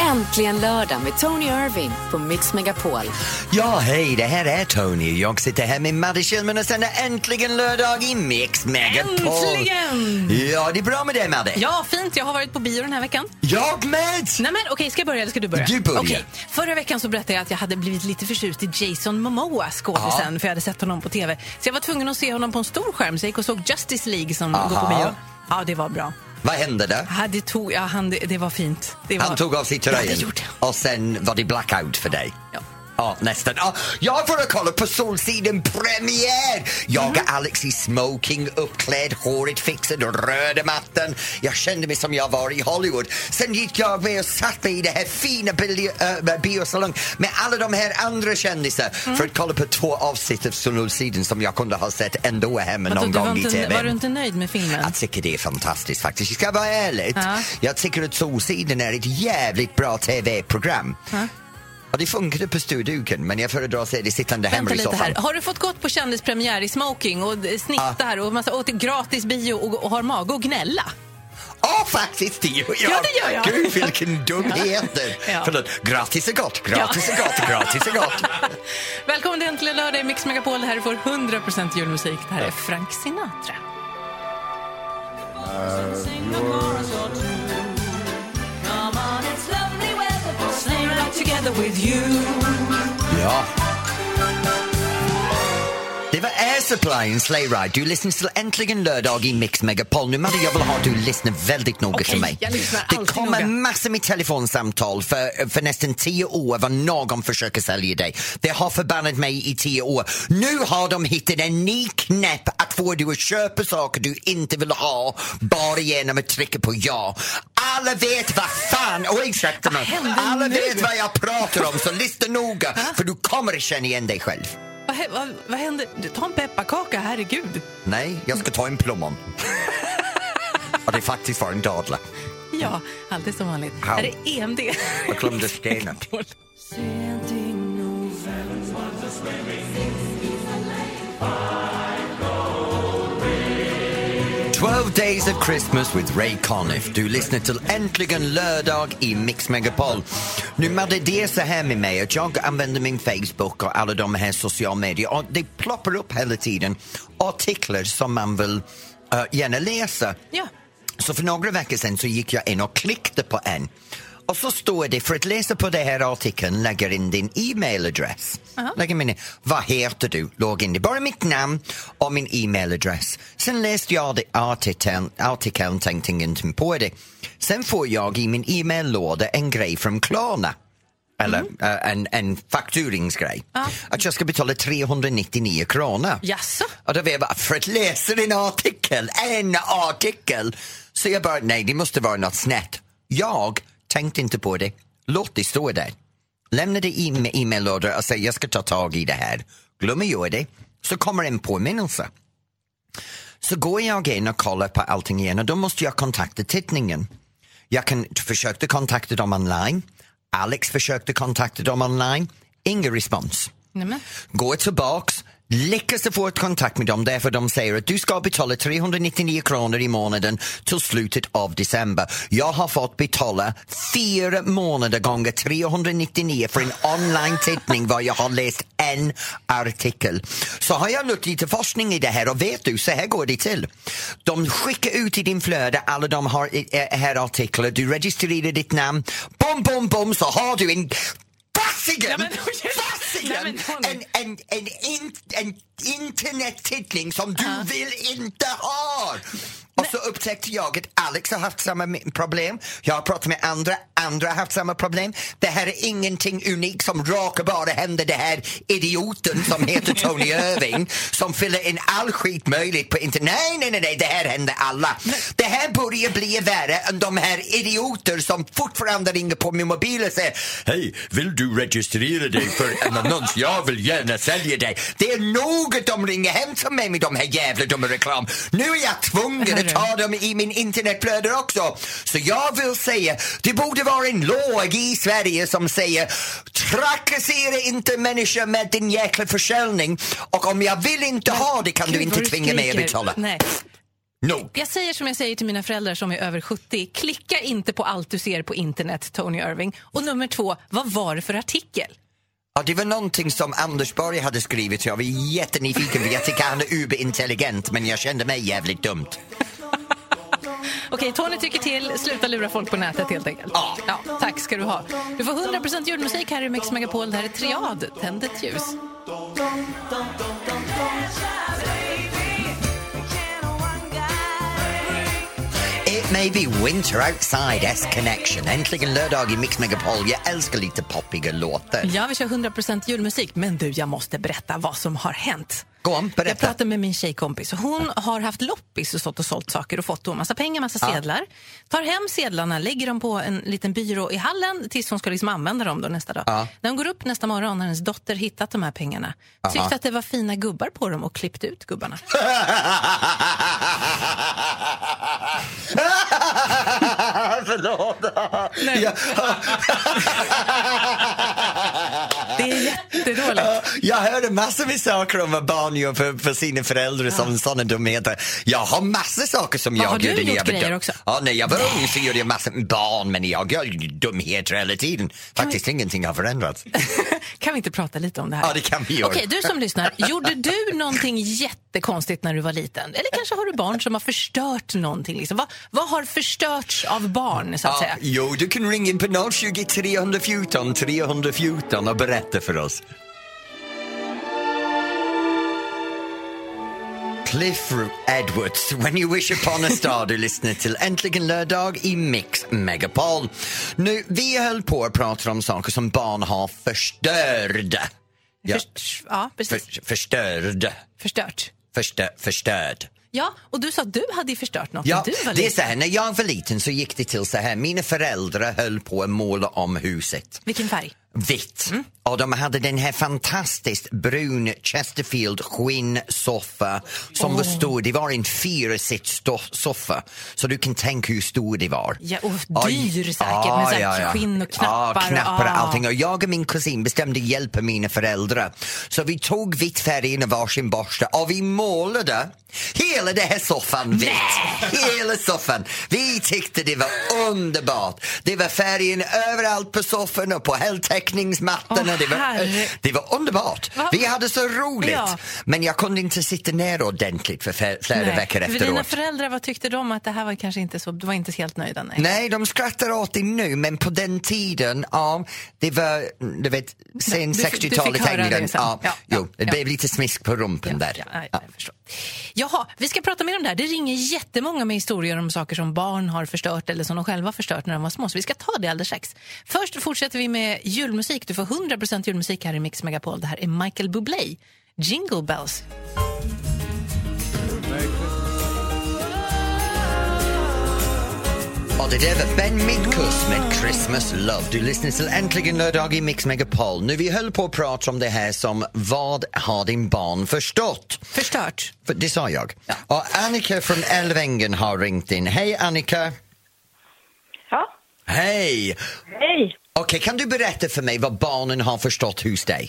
Äntligen lördag med Tony Irving på Mix Megapol. Ja, hej, det här är Tony. Jag sitter här med Madde Kihlman och sen är äntligen lördag i Mix Megapol. Äntligen! Ja, det är bra med dig, Madde. Ja, fint. Jag har varit på bio den här veckan. Jag med! Nej men okej, ska jag börja eller ska du börja? Du börjar. Okej. Förra veckan så berättade jag att jag hade blivit lite förtjust i Jason Momoa, skådisen, för jag hade sett honom på TV. Så jag var tvungen att se honom på en stor skärm, så jag gick och såg Justice League som Aha. går på bio. Ja, det var bra. Vad hände då? Ja, det, tog, ja, han, det, det var fint. Det var... Han tog av sig Ja, det tröjan gjorde han. och sen var det blackout för dig. Ja. Ja, nästan. Ja, jag får kolla på Solsidan premiär! Jag och Mm. Alex i smoking, uppklädd, håret fixat, röda mattan. Jag kände mig som jag var i Hollywood. Sen gick jag med och satt mig i det här fina bili- äh, biosalong med alla de här andra kändisar Mm. för att kolla på två avsnitt av Solsidan som jag kunde ha sett ändå hemma Vadå, någon du var gång i inte, TV. Var du inte nöjd med filmen? Jag tycker det är fantastiskt faktiskt. Jag ska vara ärlig. Ja. Jag tycker att Solsidan är ett jävligt bra TV-program. Ja. Och det funkade på störduken men jag föredrar att se det sittande hemma Vänta i lite soffan. här. Har du fått gått på kändispremiär i smoking och eh, snittar Ah. och, massa, och till gratis bio och, och har mage att gnälla? Ja, faktiskt det gör jag! Ja, det gör jag. Gud vilken dumhet! Ja. Förlåt, gratis är gott, gratis är gott, gratis är gott. Välkommen till Äntligen lördag i Mix Megapol. Det här är vår 100% julmusik. Det här är Frank Sinatra. Ja. Det var Air Supply och Sleigh Ride. Du lyssnar till Äntligen lördag i Mix Megapol. Nu Madde, jag vill ha att du lyssnar väldigt noga Okej, till mig. jag lyssnar det alltid kommer noga. massor med telefonsamtal för, för nästan tio år vad någon försöker sälja dig. Det har förbannat mig i tio år. Nu har de hittat en ny knäpp att få dig att köpa saker du inte vill ha bara genom att trycka på ja. Alla vet vad fan, oh, ursäkta mig, hände alla nu? vet vad jag pratar om så lyssna noga för du kommer att känna igen dig själv. Vad, hä- vad, vad händer? Du, Ta en pepparkaka, herregud. Nej, jag ska ta en plommon. Och det faktiskt var en dadla. Ja, alltid som vanligt. Au. Här är E EMD. Jag glömde stenen. Twelve days of Christmas with Ray Conniff. Du lyssnar till Äntligen lördag i Mix Megapol. Nu Madde, det är så här med mig att jag använder min Facebook och alla de här sociala medier och det ploppar upp hela tiden artiklar som man vill eh, gärna läsa. Ja. Så för några veckor sedan så gick jag in och klickade på en. Och så står det, för att läsa på den här artikeln, lägger in din e-mailadress. Lägger min, e- vad heter du? Låg in det. Bara mitt namn och min e-mailadress. Sen läste jag det artikeln, artikeln tänkte ingenting på det. Sen får jag i min e-maillåda en grej från Klarna. Eller eh, en, en faktureringsgrej. Att jag ska betala 399 kronor. Jaså? Och då var jag bara, för att läsa din artikel, en artikel. Så jag bara, nej det måste vara något snett. Jag tänkte inte på det, låt det stå där. Lämnade i e-maillådor och sa, jag ska ta tag i det här. Glömmer jag det, så kommer en påminnelse. Så går jag in och kollar på allting igen och då måste jag kontakta tidningen. Jag kan, försökte kontakta dem online, Alex försökte kontakta dem online, ingen respons Nej, men. går tillbaks, lyckas få ett kontakt med dem därför de säger att du ska betala 399 kronor i månaden till slutet av december. Jag har fått betala fyra månader gånger 399 för en online-tittning var jag har läst en artikel. Så har jag låtit lite forskning i det här och vet du, så här går det till. De skickar ut i din flöde alla de har, eh, här artiklar, du registrerar ditt namn, bom, bom, bom, så har du en Fasiken! Nej, men- Nej, Fasiken! men hon- En en, en, in, en internettittning som du vill inte ha! Och så upptäckte jag att Alex har haft samma mi- problem. Jag har pratat med andra, andra har haft samma problem. Det här är ingenting unikt som råkar bara hända det här idioten som heter Tony Irving som fyller in all skit möjligt på internet. Nej, nej, nej, nej, det här händer alla. Det här börjar bli värre än de här idioter som fortfarande ringer på min mobil och säger Hej, vill du registrera dig för en annons? Jag vill gärna sälja dig. Det är nog att de ringer hem till mig med de här jävla dumma reklam. Nu är jag tvungen att ta dem i min internetflöde också. Så jag vill säga, det borde vara en lag i Sverige som säger trakassera inte människor med din jäkla försäljning och om jag vill inte ha det kan du Gud, inte vad du tvinga mig att skriker. betala. Nej. Nog. Jag säger som jag säger till mina föräldrar som är över 70. Klicka inte på allt du ser på internet, Tony Irving. Och nummer två, vad var det för artikel? Ja, det var någonting som Anders Borg hade skrivit så jag var jättenyfiken för jag tycker han är uberintelligent men jag kände mig jävligt dumt. Okej, Tony tycker till. Sluta lura folk på nätet helt enkelt. Ja. tack ska du ha. Du får 100% julmusik här i Mix Megapol. Det här är Triad, Tänd ett ljus. It may be winter outside S connection. Äntligen lördag i Mix Megapol. Jag älskar lite poppiga låtar. Ja, vi kör 100% julmusik. Men du, jag måste berätta vad som har hänt. Gå on, Jag berätta. pratade med min tjejkompis. och Hon har haft loppis och stått och sålt saker och fått då massa pengar, massa Ja. sedlar. Tar hem sedlarna, lägger dem på en liten byrå i hallen tills hon ska liksom använda dem då nästa dag. Ja. När hon går upp nästa morgon har hennes dotter hittat de här pengarna. Tyckte att det var fina gubbar på dem och klippt ut gubbarna. Förlåt! Jag, Det är jättedåligt. jag hörde massor med saker om vad barn gör för, för sina föräldrar som sådana dumheter. Jag har massor saker som jag har du gjorde när gjort jag var grejer dum. också? Ja, när jag var ung så gjorde jag massor med barn men jag gör ju dumheter hela tiden. Faktiskt ingenting har förändrats. Kan vi inte prata lite om det här? Ja, det kan vi göra. Okej, du som lyssnar. Gjorde du någonting jättekonstigt när du var liten? Eller kanske har du barn som har förstört någonting? Liksom? Vad, vad har förstörts av barn, så att säga? Ah, Jo, du kan ringa in på 020 314 314 och berätta för oss. Cliff Edwards, When You Wish Upon A Star, du lyssnar till Äntligen lördag i Mix Megapol. Nu, vi höll på att prata om saker som barn har förstörda. Ja, Först, ja, precis. för, förstörda. Förstört. Förstö, förstörd. Ja, och du sa att du hade ju förstört något Ja, när du var det är liten. så här, när jag var liten så gick det till så här. Mina föräldrar höll på att måla om huset. Vilken färg? vitt. Och de hade den här fantastiskt brun Chesterfield skinnsoffa som var stor. Det var en fyrsitssoffa. Så du kan tänka hur stor det var. Ja, och Ja, dyr säkert, ja, med så här ja, ja. skinn och Ja, knappar. knappar och Ah. allting. Och jag och min kusin bestämde hjälpa mina föräldrar. Så vi tog vitt färgen och varsin borste och vi målade hela den här soffan vitt. Hela soffan. Vi tyckte det var underbart. Det var färgen överallt på soffan och på heltäckningsmattorna. Åh, det, var, herre- det var underbart. Va? Vi hade så roligt. Ja. Men jag kunde inte sitta ner ordentligt för fe- flera Nej. veckor För efteråt. dina föräldrar, vad tyckte de? Att det här var kanske inte så... Du var inte helt nöjda? Nej. Nej, de skrattar åt det nu, men på den tiden, ja, det var du vet, sen du fick- du fick 60-talet höra det England. sen. Ja, Ja, jo, det ja, ja. blev lite smisk på rumpen där. Ja, nej, jag förstår. Jaha, vi ska prata mer om det här. Det ringer jättemånga med historier om saker som barn har förstört eller som de själva har förstört när de var små. Så vi ska ta det alldeles strax. Först fortsätter vi med julmusik. Du får 100% julmusik här i Mix Megapol. Det här är Michael Bublé, Jingle Bells. Och det där var Ben Midkus med Christmas Love. Du lyssnar till Äntligen lördag i Mix Megapol. Nu vi höll på att prata om det här som vad har din barn förstått? Förstört. För det sa jag. Och Annika från Älvängen har ringt in. Hej Annika! Ja, Hej! hej. Okej, kan du berätta för mig vad barnen har förstått hos dig?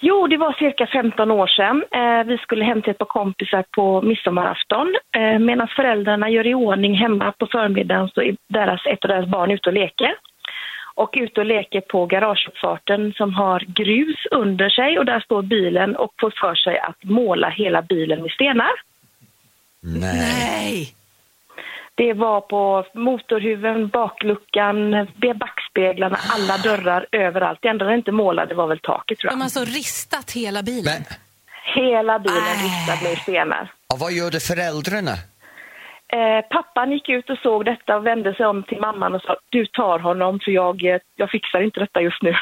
Jo, det var cirka 15 år sedan. Eh, vi skulle hem till ett par kompisar på midsommarafton. Eh, Medan föräldrarna gör i ordning hemma på förmiddagen så är deras, ett av deras barn ute och leker. Och ute och leker på garageuppfarten som har grus under sig och där står bilen och får för sig att måla hela bilen med stenar. Nej. Nej! Det var på motorhuven, bakluckan, backspeglarna, alla dörrar, överallt. Det enda de inte målade var väl taket tror jag. De har alltså ristat hela bilen. Men, Hela bilen Äh. ristad med stenar. och vad gjorde föräldrarna? Eh, pappan gick ut och såg detta och vände sig om till mamman och sa du tar honom för jag, eh, jag fixar inte detta just nu.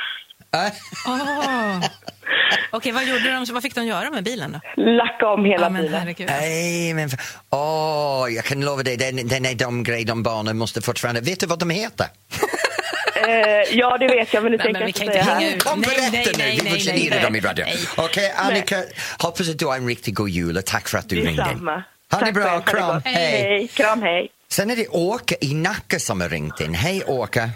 Äh? Åh. Ah. Okej, vad gjorde de? Vad fick de göra med bilen då? Lacka om hela Ja, men bilen. herregud. Nej, men f- åh, jag kan lova dig, den, den är de grej de barnen måste fortfarande... Vet du vad de heter? Eh, ja det vet jag men det Nej, men tänker jag vi inte kan inte säga hänga här. ut. Kom, Äh, Nej, nej, berätta nu! nej, Vi nej, får nej, genera nej. dem i radio. Okej, Annika, Nej. hoppas att du har en riktigt god jul och tack för att du ringde. Detsamma. Ha det Tack bra, själv, ha det kram, gott. hej! hej. Kram, hej. Sen är det Åke i Nacka som har ringt in. Hej Åke!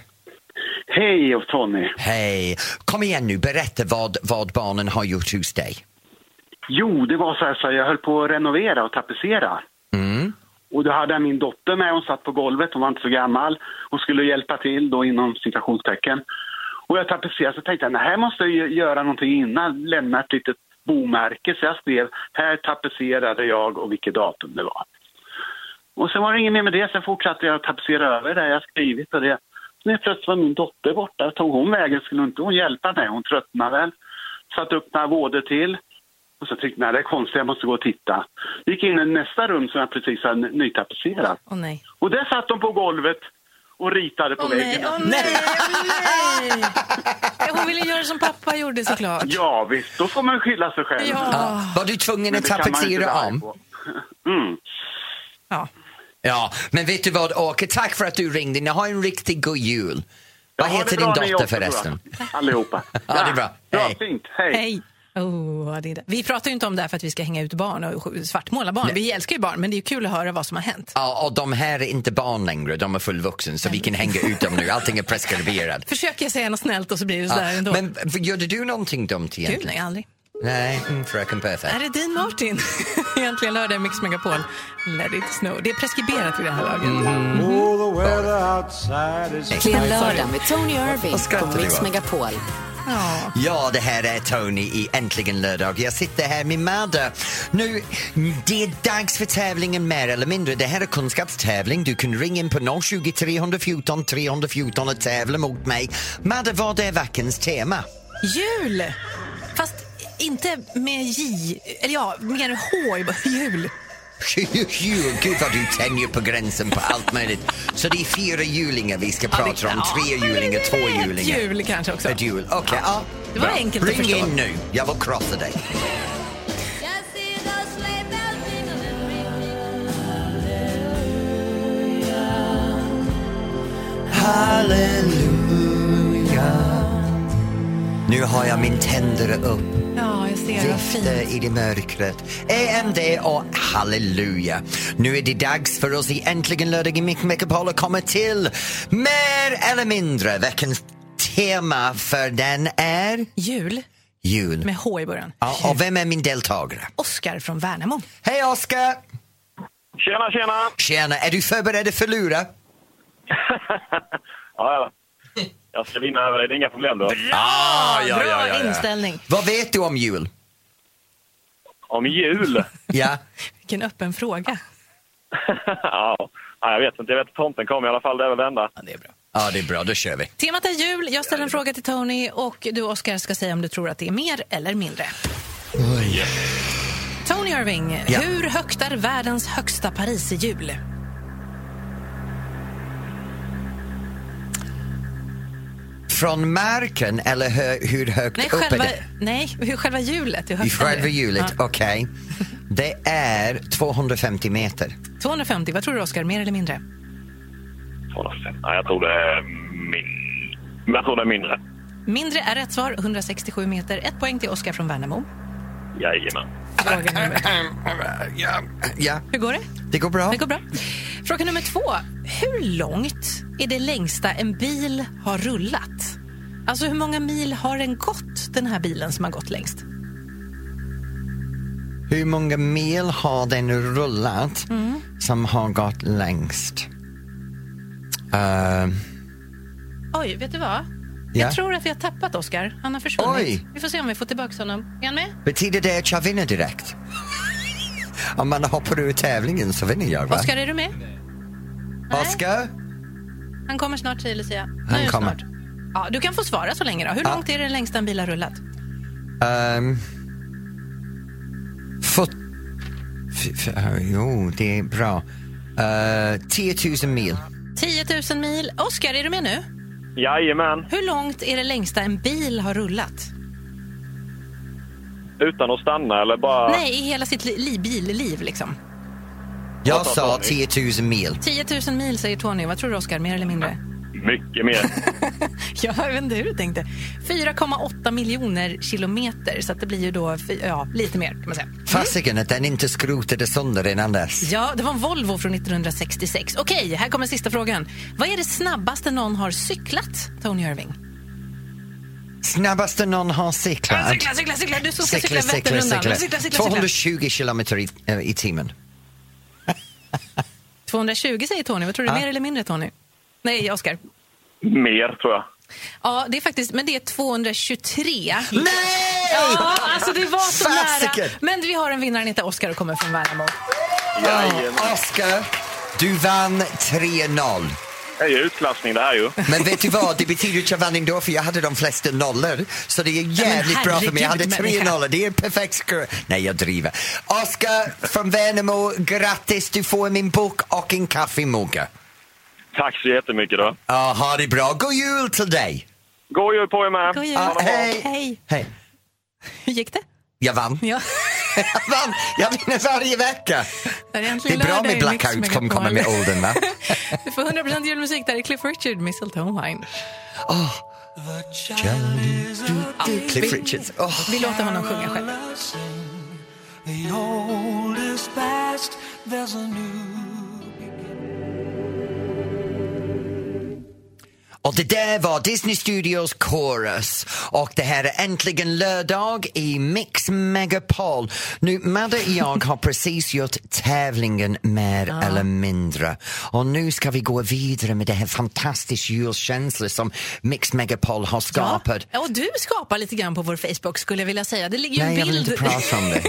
Hej och Tony. Hej! Kom igen nu, berätta vad, vad barnen har gjort hos dig. Jo, det var så här, så här jag höll på att renovera och tapetsera. Mm. Och då hade jag min dotter med, hon satt på golvet, hon var inte så gammal. Hon skulle hjälpa till då inom citationstecken. Och jag tapetserade så tänkte jag, nej här måste jag ju göra någonting innan, lämna ett litet bomärke. Så jag skrev, här tapetserade jag och vilket datum det var. Och sen var det inget mer med det, sen fortsatte jag att tapetsera över det jag skrivit och det. Nu plötsligt var min dotter borta, tog hon vägen, skulle inte hon hjälpa mig? Hon tröttnade väl. Satte upp några vådor till. Och så tyckte jag, det är konstigt, jag måste gå och titta. Gick in i nästa rum som jag precis hade nytapetserat. Åh nej. Och där satt de på golvet och ritade på Åh nej, väggen. åh nej, åh nej. Hon ville göra som pappa gjorde såklart. Ja visst, då får man skylla sig själv. Ja. Var du tvungen Men att det kan man inte tapetsera vara arg om? på. Mm. ja. Ja, men vet du vad Åke, tack för att du ringde. Ni har en riktigt god jul. Ja, Vad ha det heter bra din ni dotter också, förresten? tror jag. Allihopa. Ja, det är bra. Bra, Hej. fint. Hej. Hej. Oh, det är det. Vi pratar ju inte om det här för att vi ska hänga ut barn och svartmåla barn. Vi älskar ju barn, men det är ju kul att höra vad som har hänt. Ja, och de här är inte barn längre, de är fullvuxna så vi kan hänga ut dem nu. Allting är preskriberat. Försöker jag säga något snällt och så blir det sådär Ja, ändå. men v- gjorde du någonting dumt Kul, egentligen? nej, aldrig. Nej, mm, fröken Perfekt. Är det Dean Martin? Egentligen lördag i Mix Megapol. Let it snow. Det är preskriberat vid det här laget. Mhm. Oh, the weather outside is Äntligen lördag med Tony Irving Vad skrattar på ni Mix åt? Megapol. Ja. Ja, det här är Tony i Äntligen lördag. Jag sitter här med Madde. Nu, det är dags för tävlingen mer eller mindre. Det här är kunskapstävling. Du kan ringa in på 020 314 314 och tävla mot mig. Madde, vad är veckans tema? Jul! Fast inte med J, eller ja, mer H i bara- jul. Jul, gud vad du tänjer på gränsen på allt möjligt. Så det är fyra julingar vi ska prata om. Tre julingar, två julingar. Ett jul kanske också. Ett jul, okej. ja. Det var Bra. enkelt att Ring förstå. in nu, jag vill krossa dig. Just see the sleigh bells ringing and ringing. Nu har jag min tändare upp. Ja, jag ser. Vad fint. Vifta eh, i det mörkret. EMD och halleluja. Nu är det dags för oss i Äntligen lördag i Mick Megapol att komma till mer eller mindre veckans tema för den är Jul jul. med H i början. Ja, och vem är min deltagare? Oskar från Värnamo. Hej Oskar! Tjena, tjena! Tjena, är du förberedd för lura? Ja, ja. Jag ska vinna över dig, det är inga problem då. Ah, Bra inställning. Vad vet du om jul? Om jul? Ja, Vilken öppen fråga. ja, jag vet inte. Jag vet att tomten kom i alla fall, det är väl det enda. Ja, det är bra. ja det är bra, då kör vi. Temat är jul. Jag ställer en fråga till Tony och du, Oskar, ska säga om du tror att det är mer eller mindre. Tony Irving, Ja. hur högt är världens högsta Paris i jul? Från marken eller hö- hur högt Nej, upp är själva, det? nej hur själva hjulet. Hur I högt är det? själva hjulet, Ja. okej. Det är 250 meter. 250, vad tror du Oskar, mer eller mindre? 205. Nej, jag tror det är min... men Jag tror det är mindre. Mindre är rätt svar, 167 meter. Ett poäng till Oskar från Värnamo. Jajamän. Fråga nummer Ja, Hur går det? det går bra. Det går bra. Fråga nummer två. Hur långt är det längsta en bil har rullat? Alltså hur många mil har den gått, den här bilen som har gått längst? Hur många mil har den rullat Mm. som har gått längst? Ehm, Oj, vet du vad? ja. Jag tror att vi har tappat Oskar. Han har försvunnit. Oj. Vi får se om vi får tillbaka honom. Är han med? Betyder det att jag vinner direkt? Om man hoppar ur tävlingen så vinner jag, va? Oskar, är du med? Nej. Oskar? Han kommer snart, säger Lucia. Han Nu kommer. Snart. Ja, du kan få svara så länge. Då. Hur Ja. långt är det längst en bil har rullat? Ehm, fot- f- f- jo, det är bra. Uh, 10 000 mil. 10 000 mil. Oskar, är du med nu? Jajamän. Hur långt är det längsta en bil har rullat? Utan att stanna eller bara... Nej, i hela sitt li- li- billiv liksom. Jag Vad sa sa Tony? 10 000 mil. 10 000 mil säger Tony. Vad tror du Oskar, mer eller mindre? Mycket mer. Ja, jag vet inte hur du tänkte. 4,8 miljoner kilometer, så att det blir ju då fy- ja, lite mer kan man säga. Fasiken att den inte skrotade sönder innan dess. Ja, det var en Volvo från 1966. Okej, här kommer sista frågan. Vad är det snabbaste någon har cyklat, Tony Irving? Snabbaste någon har cyklat. Cykla, cykla, cykla! Du som ska Cykla, cykla cykla, Vätternrundan. cykla. Cykla, cykla, cykla. 220 kilometer i, eh, i timmen. 220 säger Tony. Vad tror du? Mer eller mindre, Tony? Nej, Oskar. Mer, tror jag. Ja, det är faktiskt, men det är 223. Nej! Ja, alltså det var så nära. Fasiken! Men vi har en vinnare, Anita Oskar, och kommer från Värnamo. Jajamän. Oscar, du vann 3-0. Det är ju utklassning det här ju. Men vet du vad, det betyder ju att jag vann ändå för jag hade de flesta nollor. Så det är jävligt men bra för mig. Jag hade herregud, tre människa. nollor, det är en perfekt skur. Nej, jag driver. Oskar från Värnamo, grattis, du får min bok och en kaffemugga. Tack så jättemycket då. Ja, ha det bra. God jul till dig! God jul på er med. God jul. Ja, hej. Hej. Hej. Hur gick det? Jag vann. Ja. Jag vann! Jag vinner varje vecka. Där Det är äntligen bra lördag med i Mix blackout som Megapol. kommer med åldern, va? Du får 100% julmusik. Där är Cliff Richard, Mistletoe Wine. Cliff Richards. Åh, Vi låter honom sjunga själv. The old is past, there's a new. Och det där var Disney Studios Chorus och det här är äntligen lördag i Mix Megapol. Nu, Madde och jag har precis gjort tävlingen mer eller mindre och nu ska vi gå vidare med det här fantastiska julkänslan som Mix Megapol har skapat. Ja, och du skapar lite grann på vår Facebook skulle jag vilja säga. Det ligger ju Nej, jag en vill inte bild. prata om det.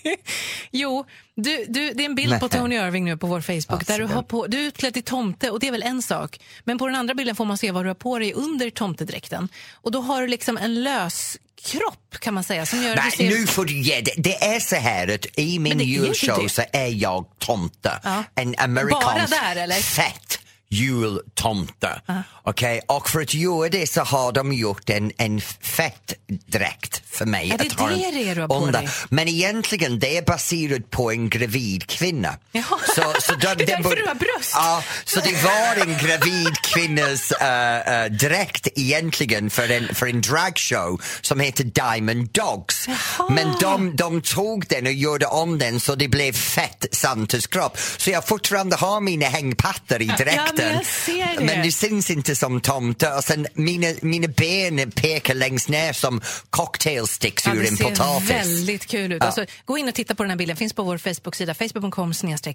jo, du, du, det är en bild Nej. på Tony Irving nu på vår Facebook. där du, den- har på, du är utklädd till tomte och det är väl en sak. Men på den andra bilden får man se vad du har på dig under tomtedräkten. Och då har du liksom en lös kropp kan man säga. Som gör att Nej, du ser... nu får du ge det. Det är så här att i Men min det är ju inte julshow det. så är jag tomte. Ja. En amerikansk Bara där, eller? fett jultomte. Okej, och för att göra det så har de gjort en, en fett dräkt för mig. Ja, det är att ha det en det du har på dig. Men egentligen det är baserat på en gravid kvinna. Jaha. Det är därför borde- du har bröst. Ja, så det var en gravid kvinnas eh, eh, dräkt egentligen för en, för en dragshow som heter Diamond Dogs. Men de, de tog den och gjorde om den så det blev fett Santas kropp. Så jag fortfarande har mina hängpattar i dräkten. Ja, men jag ser det. Men det syns inte som tomte. Och sen mina, mina ben pekar längst ner som cocktailsticks Ja, ur det en ser potatis. väldigt kul ut. Alltså, gå in och titta på den här bilden. finns på vår Facebook-sida. Facebook.com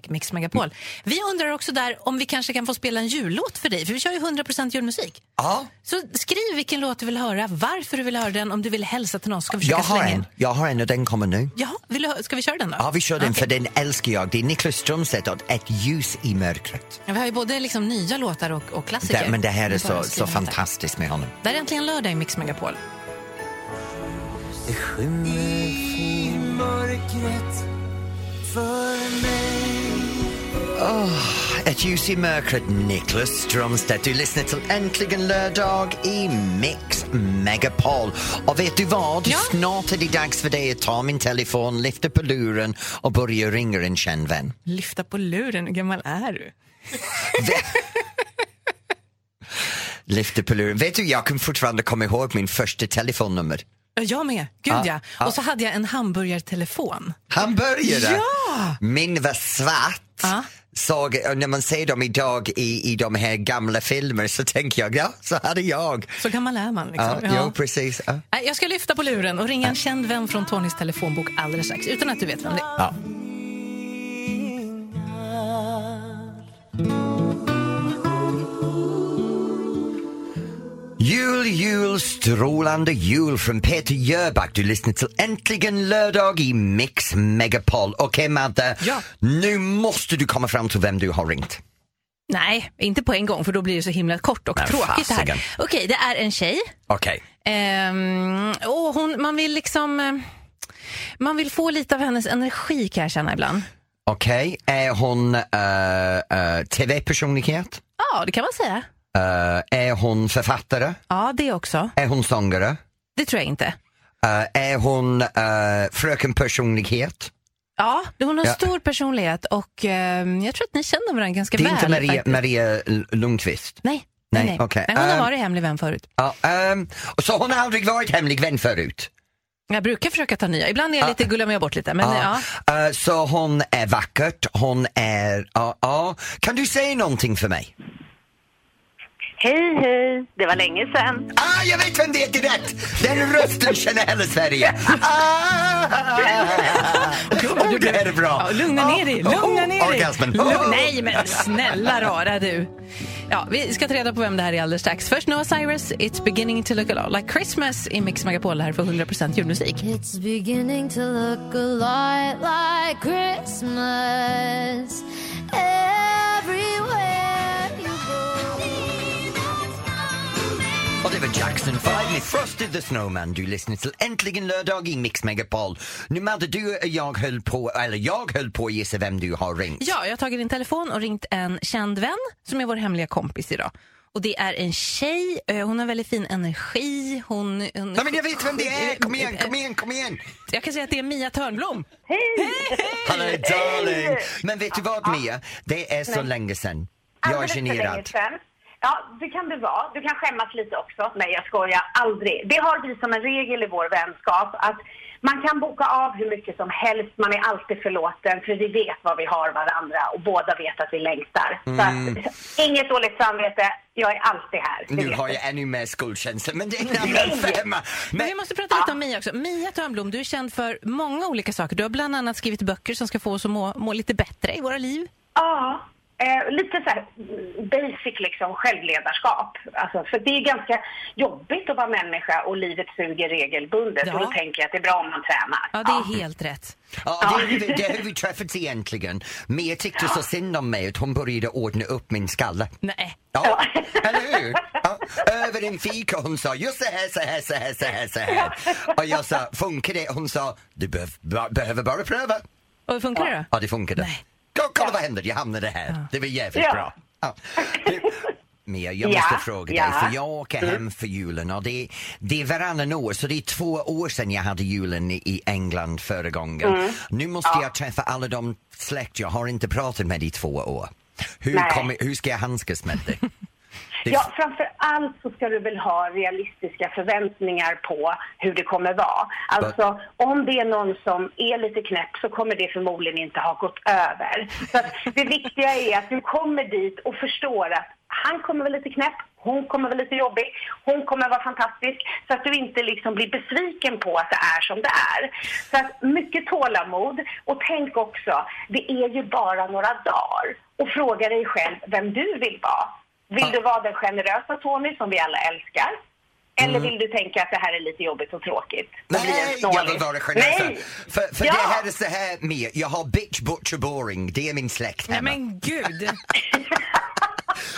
mixmegapol. Mm. Vi undrar också där om vi kanske kan få spela en jullåt för dig. För vi kör ju 100% julmusik. Ja. Så skriv vilken låt du vill höra, varför du vill höra den, om du vill hälsa till någon. Ska vi försöka Jag har slänga in? en, jag har en och den kommer nu. Ja, vill du, hö- ska vi köra den då? Ja, vi kör den för den älskar jag. Det är Niklas Strömstedt och Ett ljus i mörkret. Ja, Vi har ju både liksom nya låtar och, och klassiker. Det, men det här är Vi får så, så skriva den där. fantastiskt med honom. Det här är äntligen lördag i Mix Megapol. Ett ljus i mörkret, Niklas Strömstedt. Du lyssnar till Äntligen lördag i Mix Megapol. Och vet du vad? Ja. Snart är det dags för dig att ta min telefon, lyfta på luren och börja ringa en känd vän. Lyfta på luren, hur gammal är du? lyfta på luren. Vet du, jag kan fortfarande komma ihåg min första telefonnummer. Ja, Jag med, gud Ja, ja. ja. Och så hade jag en hamburgartelefon. Hamburgare! Ja! Min var svart. Ja. Såg, och när man ser dem idag i, i de här gamla filmer så tänker jag, ja, så hade jag. Så gammal är man liksom. Ja, Ja. Jo, precis. Ja. Nej, Jag ska lyfta på luren och ringa en känd vän från Tonys telefonbok alldeles strax utan att du vet vem det är. Ja. Jul, jul, strålande jul från Peter Jöback. Du lyssnar till Äntligen lördag i Mix Megapol. Okej Madde, Ja. nu måste du komma fram till vem du har ringt. Nej, inte på en gång för då blir det så himla kort och Men tråkigt det fasiken. här. Okej, det är en tjej. Okej. Ehm, och hon, man vill liksom... eh, Man vill få lite av hennes energi kan jag känna ibland. Okej, är hon eh, eh, tv-personlighet? Ja, det kan man säga. Eh, är hon författare? Ja, det också. Är hon sångare? Det tror jag inte. Eh, är hon eh, fröken personlighet? Ja, hon har Ja. stor personlighet och ehm, jag tror att ni känner varandra ganska Det är väl. inte Maria, faktiskt. Maria L- Lundqvist? Nej, nej, Nej, nej. okej. nej hon har Ehm. varit hemlig vän förut. Ja, ehm, så hon har aldrig varit hemlig vän förut? Jag brukar försöka ta nya. Ibland är jag lite, gullar jag bort lite. Men, Ja. ja. Eh, så hon är vackert, hon är... ja, ja. Kan du säga någonting för mig? Hej, hej. Det var länge sedan. Ah, jag vet vem det är direkt! Den rösten känner hela Sverige. Ah! Oh, det här är bra. oh, Ja, lugna ner dig, lugna ner dig. Ah. Orgasmen. Oh. Ah. Lugn- nej, men snälla rara du. Ja, vi ska ta reda på vem det här är alldeles strax. Först Noah Cyrus, It's beginning to look a lot like Christmas i Mix Megapol här för 100% julmusik. It's beginning to look a lot like Christmas everywhere you go. Oliver Jackson 5 med Frosted the Snowman. Du lyssnar till Äntligen lördag i Mix Megapol. Nu Madde, du och jag höll på, eller jag höll på att gissa vem du har ringt. Ja, jag har tagit din telefon och ringt en känd vän som är vår hemliga kompis idag. Och det är en tjej, eh, hon har väldigt fin energi. Hon, hon, Eh, Nej men jag vet vem det är! Kom igen, kom igen, kom igen! Jag kan säga att det är Mia Törnblom. Hallå darling! Men vet du vad Mia? Det är så länge sedan. Jag är Alldeles för länge generad. sedan. Ja, det kan det vara. Du kan skämmas lite också. Nej, jag skojar. Aldrig. Det har vi som en regel i vår vänskap att man kan boka av hur mycket som helst. Man är alltid förlåten för vi vet vad vi har varandra och båda vet att vi längtar. Så att, inget dåligt samvete. Jag är alltid här. Det Mm. Nu vet har du. jag ännu mer skuldkänsla men det är en annan femma. Men ah. Men vi måste prata lite om Mia också. Mia Törnblom, du är känd för många olika saker. Du har bland annat skrivit böcker som ska få oss att må, må lite bättre i våra liv. Ja, eh, lite så här basic liksom självledarskap. Alltså, för det är ganska jobbigt att vara människa och livet suger regelbundet. Ja. Och då tänker jag att det är bra om man tränar. Ja, det är helt rätt. Ja, det, är hur vi- det är hur vi träffats egentligen. Mia tyckte så synd om mig att hon började ordna upp min skalle. Nej. Ja, eller hur? Ja, över en fika hon sa just så här, så här, så här, så här, så här. Och jag sa, funkar det? Hon sa, du behöv, ba, behöver bara pröva. Och hur funkar det då? Ja, det funkade. Nej. Ko- Kolla vad hände, jag hamnade här. Det var jävligt Ja. bra. Ja. Du, Mia, jag Ja, måste fråga dig, ja. Mm. för jag åker hem för julen och det, det är varannan år, så det är två år sedan jag hade julen i- i England förra gången. Mm. Nu måste jag träffa alla de släkt jag har inte pratat med i två år. Hur, Nej. kommer, hur ska jag handskas med det? det Ja, framför allt så ska du väl ha realistiska förväntningar på hur det kommer vara. Alltså, om det är någon som är lite knäpp så kommer det förmodligen inte ha gått över. Så att det viktiga är att du kommer dit och förstår att han kommer vara lite knäpp, hon kommer vara lite jobbig, hon kommer vara fantastisk. Så att du inte liksom blir besviken på att det är som det är. Så att mycket tålamod och tänk också, det är ju bara några dagar. Och fråga dig själv vem du vill vara. Vill du vara den generösa Tony som vi alla älskar? Eller vill du tänka att det här är lite jobbigt och tråkigt? och bli en Mm. Nej, jag snålis? vill vara generös. Nej! För, för Ja. det här är så här Mia, jag har bitch, butcher, boring. Det är min släkt Nej hemma. men gud!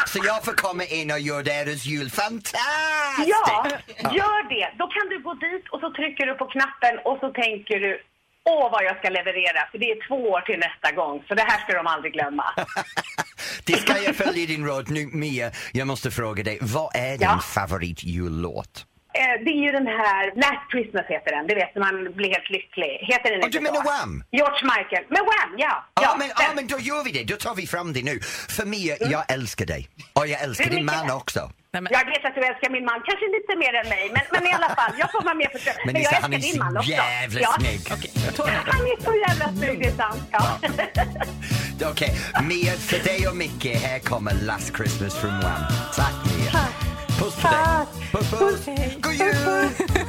Så jag får komma in och göra deras jul fantastisk! Ja, gör det. Då kan du gå dit och så trycker du på knappen och så tänker du Åh, vad jag ska leverera, för det är två år till nästa gång, så det här ska de aldrig glömma. Det ska jag följa din råd nu. Mia, jag måste fråga dig, vad är din Ja. favoritjullåt? Eh, det är ju den här, Last Christmas heter den, det vet när man blir helt lycklig. Heter den Och inte du menar så? Wham? George Michael. Men Wham, ja. Ja, ja, men, ja den. men då gör vi det, då tar vi fram det nu. För Mia, jag älskar dig. Och jag älskar Hur din mycket? man också. Nej, men, Jag vet att du älskar min man, kanske lite mer än mig, men, men i alla fall, jag får vara med på köpet. Men jag Nisse, han är älskar din man så också. jävla Ja. snygg. Han är så jävla snygg, det är sant. Ja. Okej, Mia, för dig och Micke, här kommer Last Christmas from Wham. Tack Mia. Puss på dig. Puss, puss. God jul!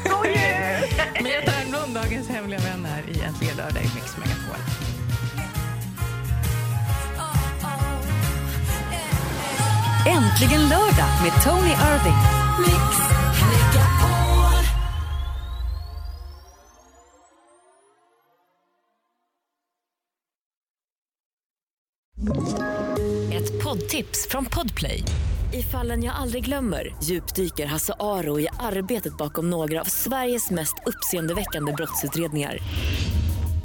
God jul! Mia Törnblom, dagens hemliga vän här i Äntligen lördag i Mix Megapol. Äntligen lördag med Tony Irving. Ett poddtips från Podplay. I fallen jag aldrig glömmer djupdyker Hasse Aro i arbetet bakom några av Sveriges mest uppseendeväckande brottsutredningar.